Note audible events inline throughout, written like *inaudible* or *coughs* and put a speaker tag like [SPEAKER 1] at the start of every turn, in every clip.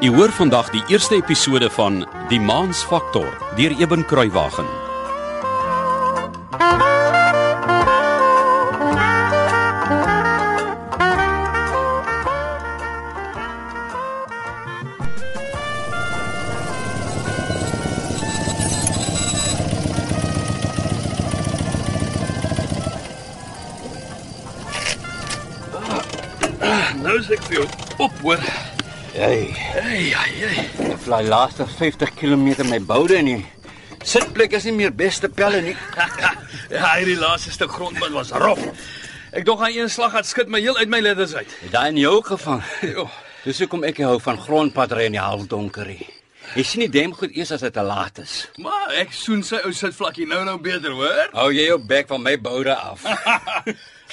[SPEAKER 1] U hoor vandag die eerste episode van Die Maansfaktor deur Eben Kruiwagen.
[SPEAKER 2] Nou is ek vir jou op hoor.
[SPEAKER 3] Hey,
[SPEAKER 2] Hey, hey, hey.
[SPEAKER 3] ek vlieg laaste 50 km my boude in. die Sitplek is nie meer beste pelle nie.
[SPEAKER 2] *laughs* Ja, hierdie laaste stuk grondpad was rof. Ek dog aan een slag het skit my heel uit my letters uit.
[SPEAKER 3] Het Daai in jou gevang.
[SPEAKER 2] Jo.
[SPEAKER 3] Dis hoekom ek nie hou van grondpadry in die halfdonkerie. Jy sien die dem goed eers as dit te laat is.
[SPEAKER 2] Maar ek soen sy ou sitvlakkie nou nou beter,
[SPEAKER 3] *laughs*
[SPEAKER 2] hoor?
[SPEAKER 3] Hou jy jou bek van my boude af.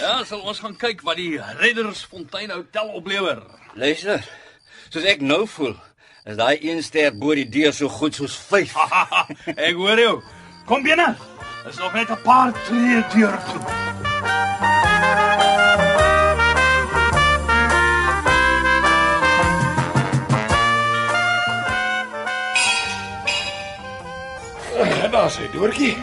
[SPEAKER 2] Ja, sal ons gaan kyk wat die Reddersfontein Hotel oplewer.
[SPEAKER 3] Luister. Soos ek nou voel, is daai een ster bo die deur so goed soos vyf.
[SPEAKER 2] *laughs* ek hoor jou. Kom binne. Is nog net 'n paar tree deur toe. Eh,
[SPEAKER 4] En daar sy doortjie.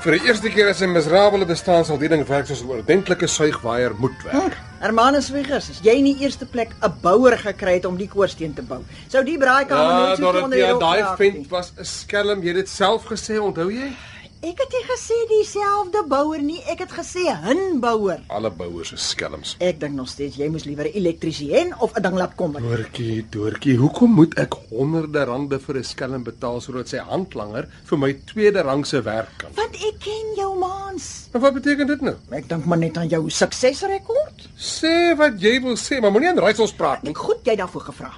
[SPEAKER 5] Vir die eerste keer in sy miserabele bestaan sal die ding werk soos 'n ordentlike suigwaaier moet werk.
[SPEAKER 6] Hermanus Wiggers, as jy in die eerste plek 'n bouer gekry het om die koorsteen te bou, sou
[SPEAKER 5] Ja,
[SPEAKER 6] die braaikamer nooit so onder jou
[SPEAKER 5] daai vent was 'n skelm, jy het dit self gesê, onthou jy?
[SPEAKER 6] Ek het nie gesê dieselfde bouer nie, ek het gesê 'n bouer.
[SPEAKER 5] Alle bouers is skelms.
[SPEAKER 6] Ek dink nog steeds jy moes liewer 'n elektriesien of 'n ding laat kom.
[SPEAKER 5] Ja.
[SPEAKER 6] het.
[SPEAKER 5] Doortjie, Doortjie, hoekom moet ek honderde rande vir 'n skelm betaal sodat sy handlanger vir my tweede rangse werk kan?
[SPEAKER 6] Want ek ken jou mans.
[SPEAKER 5] Maar wat beteken dit nou?
[SPEAKER 6] Ek dink maar net aan jou suksesrekord.
[SPEAKER 5] Sê wat jy wil sê, maar moenie aan raaisels praat nie.
[SPEAKER 6] Ek goed jy daarvoor gevra.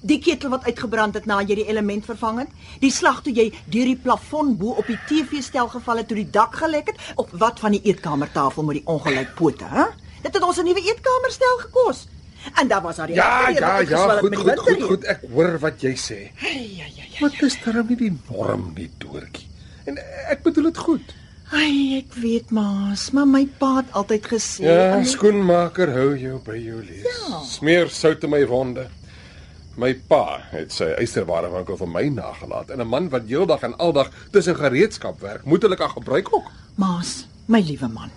[SPEAKER 6] Die ketel wat uitgebrand het nadat jy die element vervang het, die slag toe jy deur die plafon bo op die TV-stel geval het toe die dak gelek het, op wat van die eetkamertafel met die ongelyk pote, hè? Dit het ons 'n nuwe eetkamerstel gekos. En daar was daar die
[SPEAKER 5] Ja,
[SPEAKER 6] atelier wat
[SPEAKER 5] ja,
[SPEAKER 6] uitgeswel
[SPEAKER 5] ja,
[SPEAKER 6] het
[SPEAKER 5] goed,
[SPEAKER 6] met die
[SPEAKER 5] goed, goed,
[SPEAKER 6] winterreën.
[SPEAKER 5] goed, ek hoor wat jy sê.
[SPEAKER 6] Ai, ai, ai, ai.
[SPEAKER 5] Maar dis darem nie die norm nie, Doortjie. En ek bedoel dit goed.
[SPEAKER 6] Ai, ek weet maas, maar my pa het altyd gesê, "Hm,
[SPEAKER 5] Ja,
[SPEAKER 6] en-
[SPEAKER 5] skoenmaker hou jou by jou lees.
[SPEAKER 6] Ja.
[SPEAKER 5] Smeer sout in my wonde. My pa het sy ysterwarewinkel vir my nagelaat en 'n man wat heeldag en aldag tussen gereedskap werk, moet hulle kan gebruik ook.
[SPEAKER 6] Maas, my liewe man.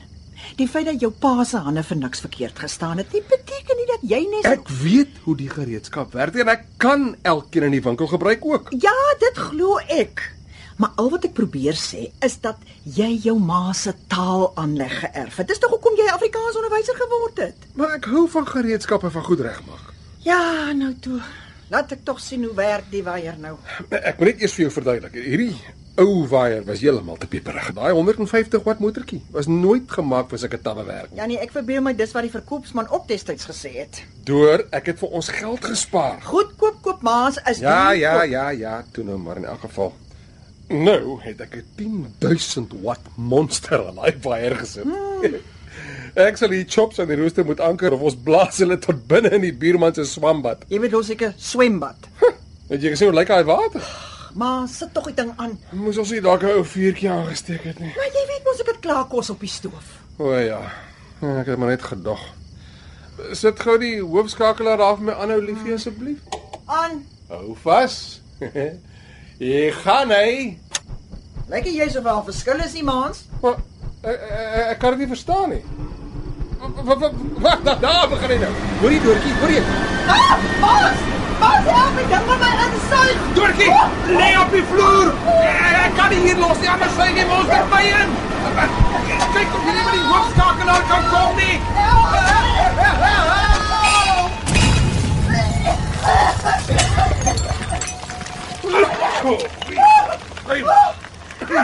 [SPEAKER 6] Die feit dat jou pa se hande vir niks verkeerd gestaan het, nie beteken nie dat jy net so
[SPEAKER 5] Ek weet hoe die gereedskap werk en ek kan elkeen in die winkel gebruik ook.
[SPEAKER 6] Ja, dit glo ek. Maar al wat ek probeer sê is dat jy jou ma se taal aanleg geërf het. Dis tog hoekom jy Afrikaans onderwyser geword het.
[SPEAKER 5] Maar ek hou van gereedskappe van goed regmaak.
[SPEAKER 6] Ja, nou toe. Laat ek tog sien hoe werk die waier nou.
[SPEAKER 5] Ek moet net eers vir jou verduidelik. Hierdie ou waier was heeltemal te pieperig. Daai 150 watt motortjie was nooit gemaak vir sulke tawwe werk.
[SPEAKER 6] Ja nee, ek verbeel my dis wat die verkoopsman ook destyds gesê het.
[SPEAKER 5] Deur ek het vir ons geld gespaar.
[SPEAKER 6] Goedkoop koop maas is
[SPEAKER 5] Ja,
[SPEAKER 6] duur
[SPEAKER 5] ja,
[SPEAKER 6] koop.
[SPEAKER 5] ja, ja, toe nou maar in elk geval. Nou het ek 'n 10000 watt monster aan daai waier gesit. Hmm. ek sal die chops aan die rooster moet anker of ons blaas hulle tot binne in die buurman se swambad.
[SPEAKER 6] Jy bedoel seker swembad.
[SPEAKER 5] Het jy gesien hoe lyk daai water?
[SPEAKER 6] Maar sit tog die ding aan.
[SPEAKER 5] Moes ons nie dalk 'n ou vuurtjie aangesteek het nie.
[SPEAKER 6] Maar jy weet mos ek het klaar kos op die stoof.
[SPEAKER 5] O ja. Ja, Ek het maar net gedog. Sit gou die hoofskakelaar daar vir my aanhou liefie asseblief.
[SPEAKER 6] Aan.
[SPEAKER 5] Hou vas. *laughs* Jy gaan hy.
[SPEAKER 6] Lyk jy so wel verskil is die maans?
[SPEAKER 5] Maar ek, ek, ek eh, kan dit nie verstaan nie. Wa- wa- wa- Wag, daar daar begin hy nou. Hoorie Doortjie, hoor jy?
[SPEAKER 6] Ah, maas! Maas help my dan met my insuig.
[SPEAKER 5] Doortjie,
[SPEAKER 6] Oh.
[SPEAKER 5] lê op die vloer. Ek, ek kan nie hier los nie, anders sy gee ons net by in. Kyk of jy nie met die hoofskakelaar kan kom nie.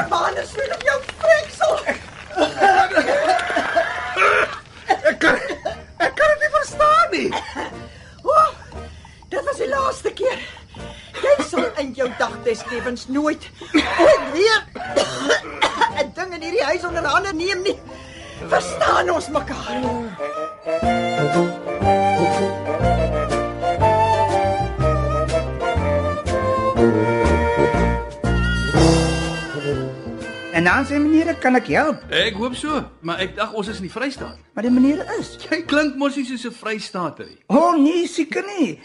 [SPEAKER 6] Man, is weer op jou *laughs* vreksel.
[SPEAKER 5] Ek kan ek kan dit nie verstaan nie.
[SPEAKER 6] Oh, dit was die laaste keer. Jy sal in jou dag des lewens nooit ooit weer *coughs* 'n ding in hierdie huis onder hande neem nie. Verstaan ons mekaar?
[SPEAKER 7] En dan sê meneer, kan ek help?
[SPEAKER 2] Ek hoop so, maar ek dag ons is in die Vrystaat.
[SPEAKER 7] Maar die meneer is.
[SPEAKER 2] Jy klink mos nie soos 'n Vrystaater nie.
[SPEAKER 7] O oh, nee, seker nie.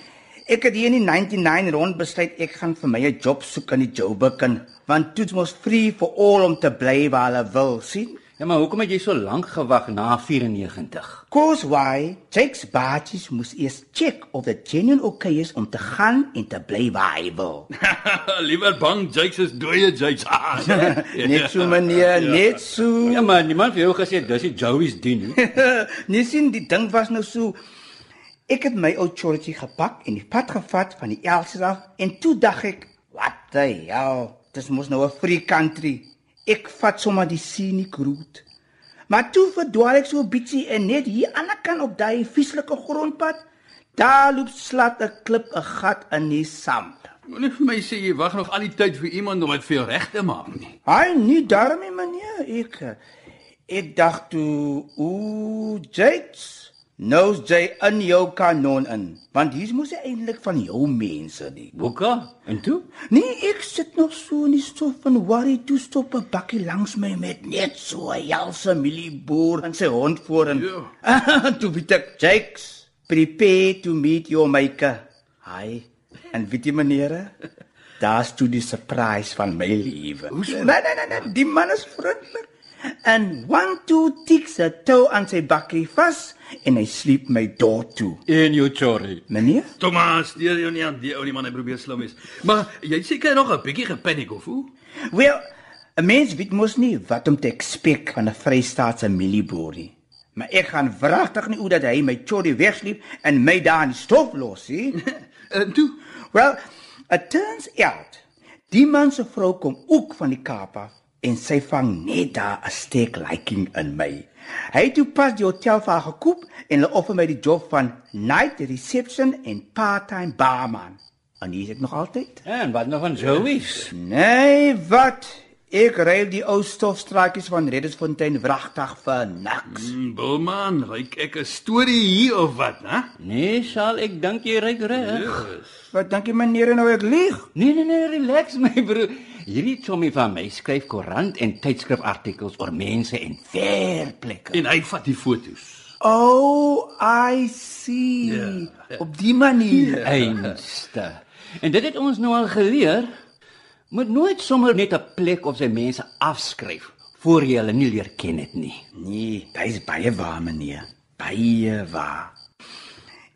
[SPEAKER 7] Ek het hier in die 99 rond besluit ek gaan vir my 'n job soek in die Joburg en want toets mos free for all om te bly waar hulle wil, sien?
[SPEAKER 3] Ja, maar hoekom het jy so lank gewag na 94?
[SPEAKER 7] Cause why? Jake's baatjies moes eers check of dit genuine okay is om te gaan en te bly waar hy wil.
[SPEAKER 2] *laughs*
[SPEAKER 7] *laughs*
[SPEAKER 2] Liewer bang Jakes is dooie *laughs* Jakes.
[SPEAKER 7] net so meneer, net so.
[SPEAKER 3] Ja, maar niemand het jou gesê dis die Joey's dien nie.
[SPEAKER 7] *laughs* nee sien die ding was nou so ek het my ou chortjie gepak en die pad gevat van die Elsie af en toe dag ek wat the hell dis mos nou 'n free country ek vat sommer die scenic route maar toe verdwaal ek so 'n bietjie en net hier aan die ander kant op daai vieslike grondpad daar loop slat 'n klip 'n gat in die sand
[SPEAKER 2] Moenie vir my sê jy wag nog al die tyd vir iemand om dit vir jou reg te maak nie.
[SPEAKER 7] Ai, nie daarmee meneer, ek ek dacht toe, ooh, Jakes, nou is jy in jou kanon in, want hier moes jy eintlik van jou mense die.
[SPEAKER 3] Boeka? En toe?
[SPEAKER 7] Nee, ek sit nog so in die stof en worry toe stop 'n bakkie langs my met net so 'n helse mielieboer en sy hond voor en *laughs* Ah, toe weet ek, Jakes, prepare to meet your maker. Hi. En weet jy meneere, daar's toe die surprise van my lewe. Nee, nee, nee, nee, die man is vriendelik. En one two tiks 'n toe aan sy bakkie vas en hy sleep my dorp toe.
[SPEAKER 3] En jou Jory.
[SPEAKER 7] Meneer?
[SPEAKER 2] Thomas, deur jou nie aan die ou nie man, hy probeer slim wees. Maar jy het seker nog 'n bietjie gepaniek of hoe?
[SPEAKER 7] Wel, 'n mens weet mos nie wat om te expect van 'n Vrystaatse mielieboer nie. Maar ek gaan wragtig nie hoe dat hy my chordy wegsleep en my daar in die stof los, sien?
[SPEAKER 2] *laughs* En toe,
[SPEAKER 7] Wel, it turns out die man se vrou kom ook van die Kaap af en sy vang net daar 'n steek liking in my. Hy het toe pas die hotel vir haar gekoop en hulle offer my die job van night reception en part-time barman. En hier is ek nog altyd.
[SPEAKER 3] En wat nou van Joey's?
[SPEAKER 7] Nee, wat? Ek ruil die ou stofstraatjies van Reddersfontein wragtig vir niks.
[SPEAKER 2] mm, Bilman, ryk ek 'n storie hier of wat, hè?
[SPEAKER 3] Nee, Saal, ek dink jy ryk reg.
[SPEAKER 7] Wat dink jy meneer nou ek lieg?
[SPEAKER 3] Nee nee nee, relax *laughs* my broer. Hierdie Tommy van my skryf koerant en tydskrifartikels oor mense en ver plekke.
[SPEAKER 2] En hy vat die foto's.
[SPEAKER 7] Oh, I see.
[SPEAKER 2] Ja.
[SPEAKER 7] Op die manier.
[SPEAKER 3] Einste. En dit het ons nou al geleer. Moet nooit sommer net 'n plek of sy mense afskryf voor jy hulle nie leer ken het nie.
[SPEAKER 7] Nee, dit is baie waar meneer. Baie waar.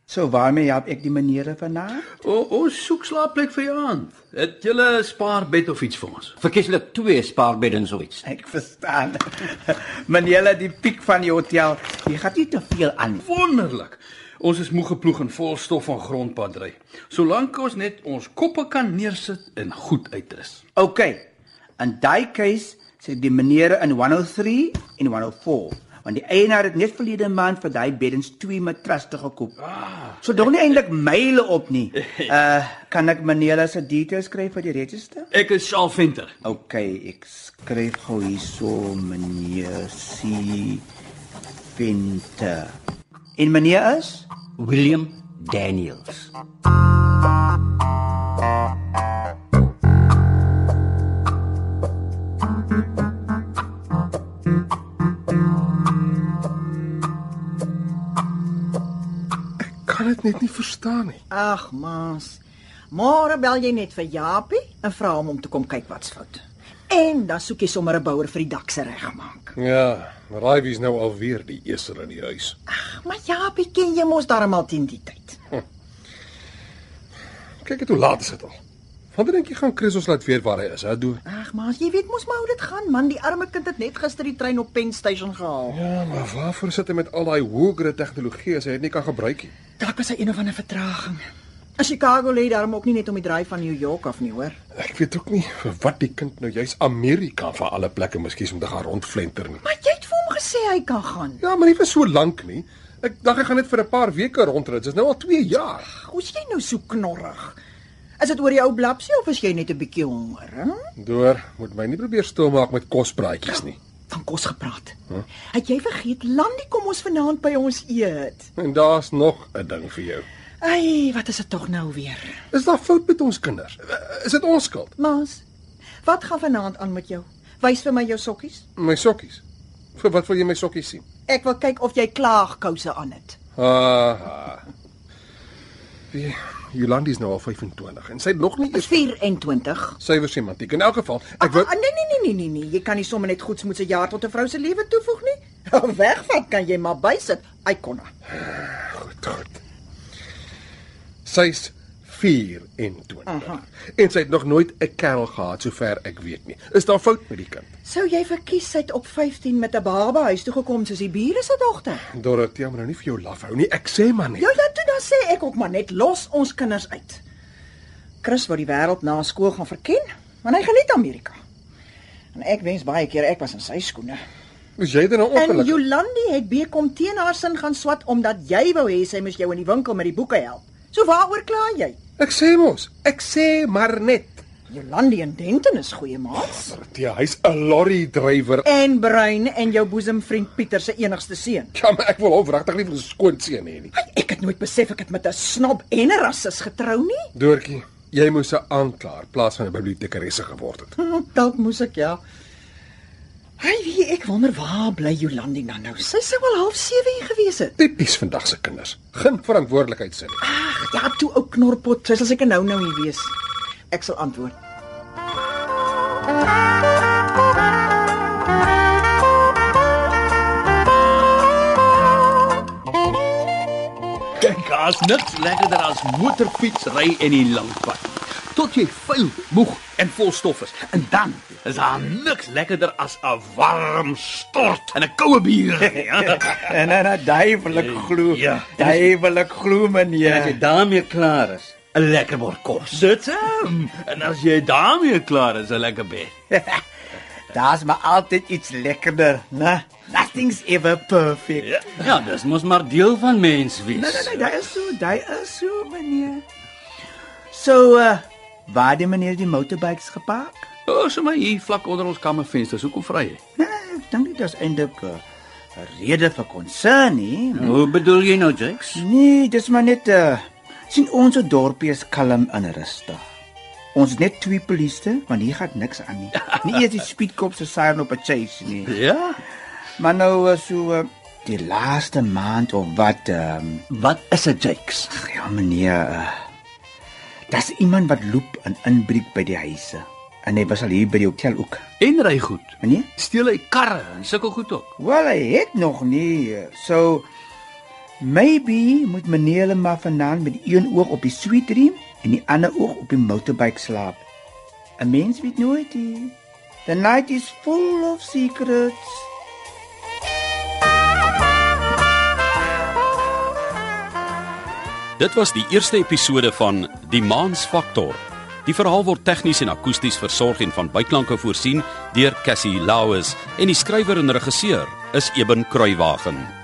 [SPEAKER 7] So waarmee help ek die maniere vanaand?
[SPEAKER 2] O, ons soek slaapplek vir jou aan. Het jy 'n spaarbed of iets vir ons?
[SPEAKER 3] Verkieslik twee spaarbedden so iets.
[SPEAKER 7] Ek verstaan. *laughs* meneer, die piek van die hotel, jy gaan nie te veel aan.
[SPEAKER 2] Wonderlik. Ons is moeg geploeg en vol stof van grondpadry. Solank ons net ons koppe kan neersit en goed uitrus.
[SPEAKER 7] OK. In daai keuse sê die menere in 103 en 104 want die eienaar het net verlede maand vir daai beddens twee matrasse gekoop. Ah, so dog nie eintlik myle op nie. Uh kan ek meneer se details kry vir die register?
[SPEAKER 2] Ek is Shaal Venter.
[SPEAKER 7] OK, ek skryf gou hierso meneer C Winter. En meneer is?
[SPEAKER 3] William Daniels.
[SPEAKER 5] Kan dit net nie verstaan nie.
[SPEAKER 6] Ag, maas. Môre bel jy net vir Japie en vra hom om te kom kyk wat's fout. En dan soek jy sommer 'n bouer vir die dak se regmaak.
[SPEAKER 5] Ja, Raivie is nou alweer die esel in die huis.
[SPEAKER 6] Ag, maar Japie ken jy mos darm al teen die tyd.
[SPEAKER 5] Kyk net hoe laat is dit al. Wanneer dink jy gaan Chris ons laat weet waar hy is? Hè, doen.
[SPEAKER 6] Ag, maas, jy weet mos maar hoe dit gaan, man. Die arme kind het net gister die trein op Penn Station gehaal.
[SPEAKER 5] Ja, maar waarvoor sit hy met al daai hoëgre tegnologie as hy dit nie kan gebruik nie?
[SPEAKER 6] Dalk was hy een of ander vertraging. In Chicago lê daarom ook nie net om die draai van New York af nie, hoor.
[SPEAKER 5] Ek weet ook nie vir wat die kind nou juis Amerika van alle plekke miskien om te gaan rondflenter nie.
[SPEAKER 6] Maar jy het vir hom gesê hy kan gaan.
[SPEAKER 5] Ja, maar nie vir so lank nie. Ek dink hy gaan net vir 'n paar weke rondrit. Dit is nou al 2 jaar.
[SPEAKER 6] Ag, hoe's jy nou so knorrig? Is dit oor die ou blapsie of is jy net 'n bietjie honger? Hm?
[SPEAKER 5] Door, moet my nie probeer stil maak met kospraatjies nie.
[SPEAKER 6] van kos gepraat. Huh? Het jy vergeet Landie kom ons vanaand by ons eet?
[SPEAKER 5] En daar's nog 'n ding vir jou.
[SPEAKER 6] Ai, wat is dit tog nou weer?
[SPEAKER 5] Is daar fout met ons kinders? Is dit ons skuld?
[SPEAKER 6] Maas, wat gaan vanaand aan met jou? Wys vir my jou sokkies.
[SPEAKER 5] My sokkies. Vir wat wil jy my sokkies sien?
[SPEAKER 6] Ek wil kyk of jy klaagkouse aan het.
[SPEAKER 5] Ah. Die Jolandi is nou al 25 en sy het nog nie eens
[SPEAKER 6] 24.
[SPEAKER 5] suiwer semantiek. In elk geval, ek
[SPEAKER 6] Ah,
[SPEAKER 5] wou
[SPEAKER 6] ah, nee nee nee nee nee nee, jy kan nie sommer net goeds moet se jaar tot 'n vrou se lewe toevoeg nie. *laughs* Wegvat kan jy maar bysit. Ikona. ah,
[SPEAKER 5] goed, goed. Sy's 24.
[SPEAKER 6] Aha.
[SPEAKER 5] En sy het nog nooit 'n kerel gehad sover ek weet nie. Is daar fout met die kind?
[SPEAKER 6] Sou jy verkies sy het op 15 met 'n baba huis toe gekom soos die bure se dogter?
[SPEAKER 5] Dorothea, moet nou nie vir jou laf hou nie. Ek sê maar net.
[SPEAKER 6] Ja, ja, toe dan sê ek ook maar net los ons kinders uit. Chris wou die wêreld na skool gaan verken, want hy geniet Amerika. En ek wens baie keer ek was in sy skoene.
[SPEAKER 5] Is jy dan nou
[SPEAKER 6] En
[SPEAKER 5] ongelukkig?
[SPEAKER 6] Jolandi het bekom teen haar sin gaan swat omdat jy wou hê sy moes jou in die winkel met die boeke help. So waaroor kla jy?
[SPEAKER 5] Ek sê mos, ek sê maar net.
[SPEAKER 6] Jolandi en Denton is goeie maats.
[SPEAKER 5] Dorothea, hy's 'n lorry drywer.
[SPEAKER 6] En Bruin en jou boesemvriend Pieter se enigste seun.
[SPEAKER 5] Ja, maar ek wil hom wragtig nie vir 'n skoon seun hê nie.
[SPEAKER 6] Ek het nooit besef ek het met 'n snob en 'n rassis getrou nie.
[SPEAKER 5] Doortjie, jy moes 'n aanklaer plaas van 'n bibliotekaresse geword het.
[SPEAKER 6] Hm, Dalk moes ek ja. Hy wie ek wonder waar bly Jolandi nou nou. Sy sou al half 7 hier gewees het.
[SPEAKER 5] Tipies vandag se kinders. Geen verantwoordelikheid sin.
[SPEAKER 6] Ag, ja, toe ou knorpot. Sy sal seker nou nou hier wees. Ek sal antwoord.
[SPEAKER 2] Kyk, daar's niks lekkerder as motorfietsry en die lang pad. Tot jy vuil, moeg en vol stof is. En dan is daar niks lekkerder as 'n warm stort en 'n koue bier. Ja.
[SPEAKER 7] En dan duidelik nee, glo.
[SPEAKER 2] Ja.
[SPEAKER 7] Duidelik glo
[SPEAKER 3] As
[SPEAKER 7] meneer.
[SPEAKER 3] jy daarmee klaar is, 'n lekker bord kos.
[SPEAKER 2] Dit hom. En as jy daarmee klaar is, 'n lekker bed.
[SPEAKER 7] Daar's maar altyd iets lekkerder, né? Nothing's ever perfect. Ja.
[SPEAKER 3] Ja, dis mos maar deel van mens wees.
[SPEAKER 7] Nee nee nee, daai is so, daai is so meneer. So uh, waar die meneer die motorbikes gepark?
[SPEAKER 2] nee. O, so maar hier vlak onder ons kamervensters, hoekom vra jy?
[SPEAKER 7] Nee, ek dink dit is eintlik 'n uh, rede vir concern nie. maar-
[SPEAKER 3] Hoe bedoel jy nou, Jakes?
[SPEAKER 7] Nee, dis maar net uh, sien ons dorpie is kalm en rustig. Ons het net twee polisie, want hier gaan niks aan nie. Nie eers die speedkop se siren op 'n chase nie.
[SPEAKER 2] Ja.
[SPEAKER 7] Maar nou uh, so uh, die laaste maand of wat um,
[SPEAKER 3] Wat is 'n Jakes?
[SPEAKER 7] ja meneer uh, Daar's iemand wat loop en inbreek by die huise. En hy was al hier by die hotel ook.
[SPEAKER 2] En ry goed.
[SPEAKER 7] Meneer?
[SPEAKER 2] Steel hy karre en sukkel goed ook.
[SPEAKER 7] Wel, hy het nog nie. eh, So maybe moet meneer hulle maar vanaand met een oog op die sweet dream en die ander oog op die motorbike slaap. 'n Mens weet nooit nie. The night is full of secrets.
[SPEAKER 1] Dit was die eerste episode van Die Maansfaktor. Die verhaal word tegnies en akoesties versorg en van byklanke voorsien deur Cassie Lauis en die skrywer en regisseur is Eben Kruiwagen.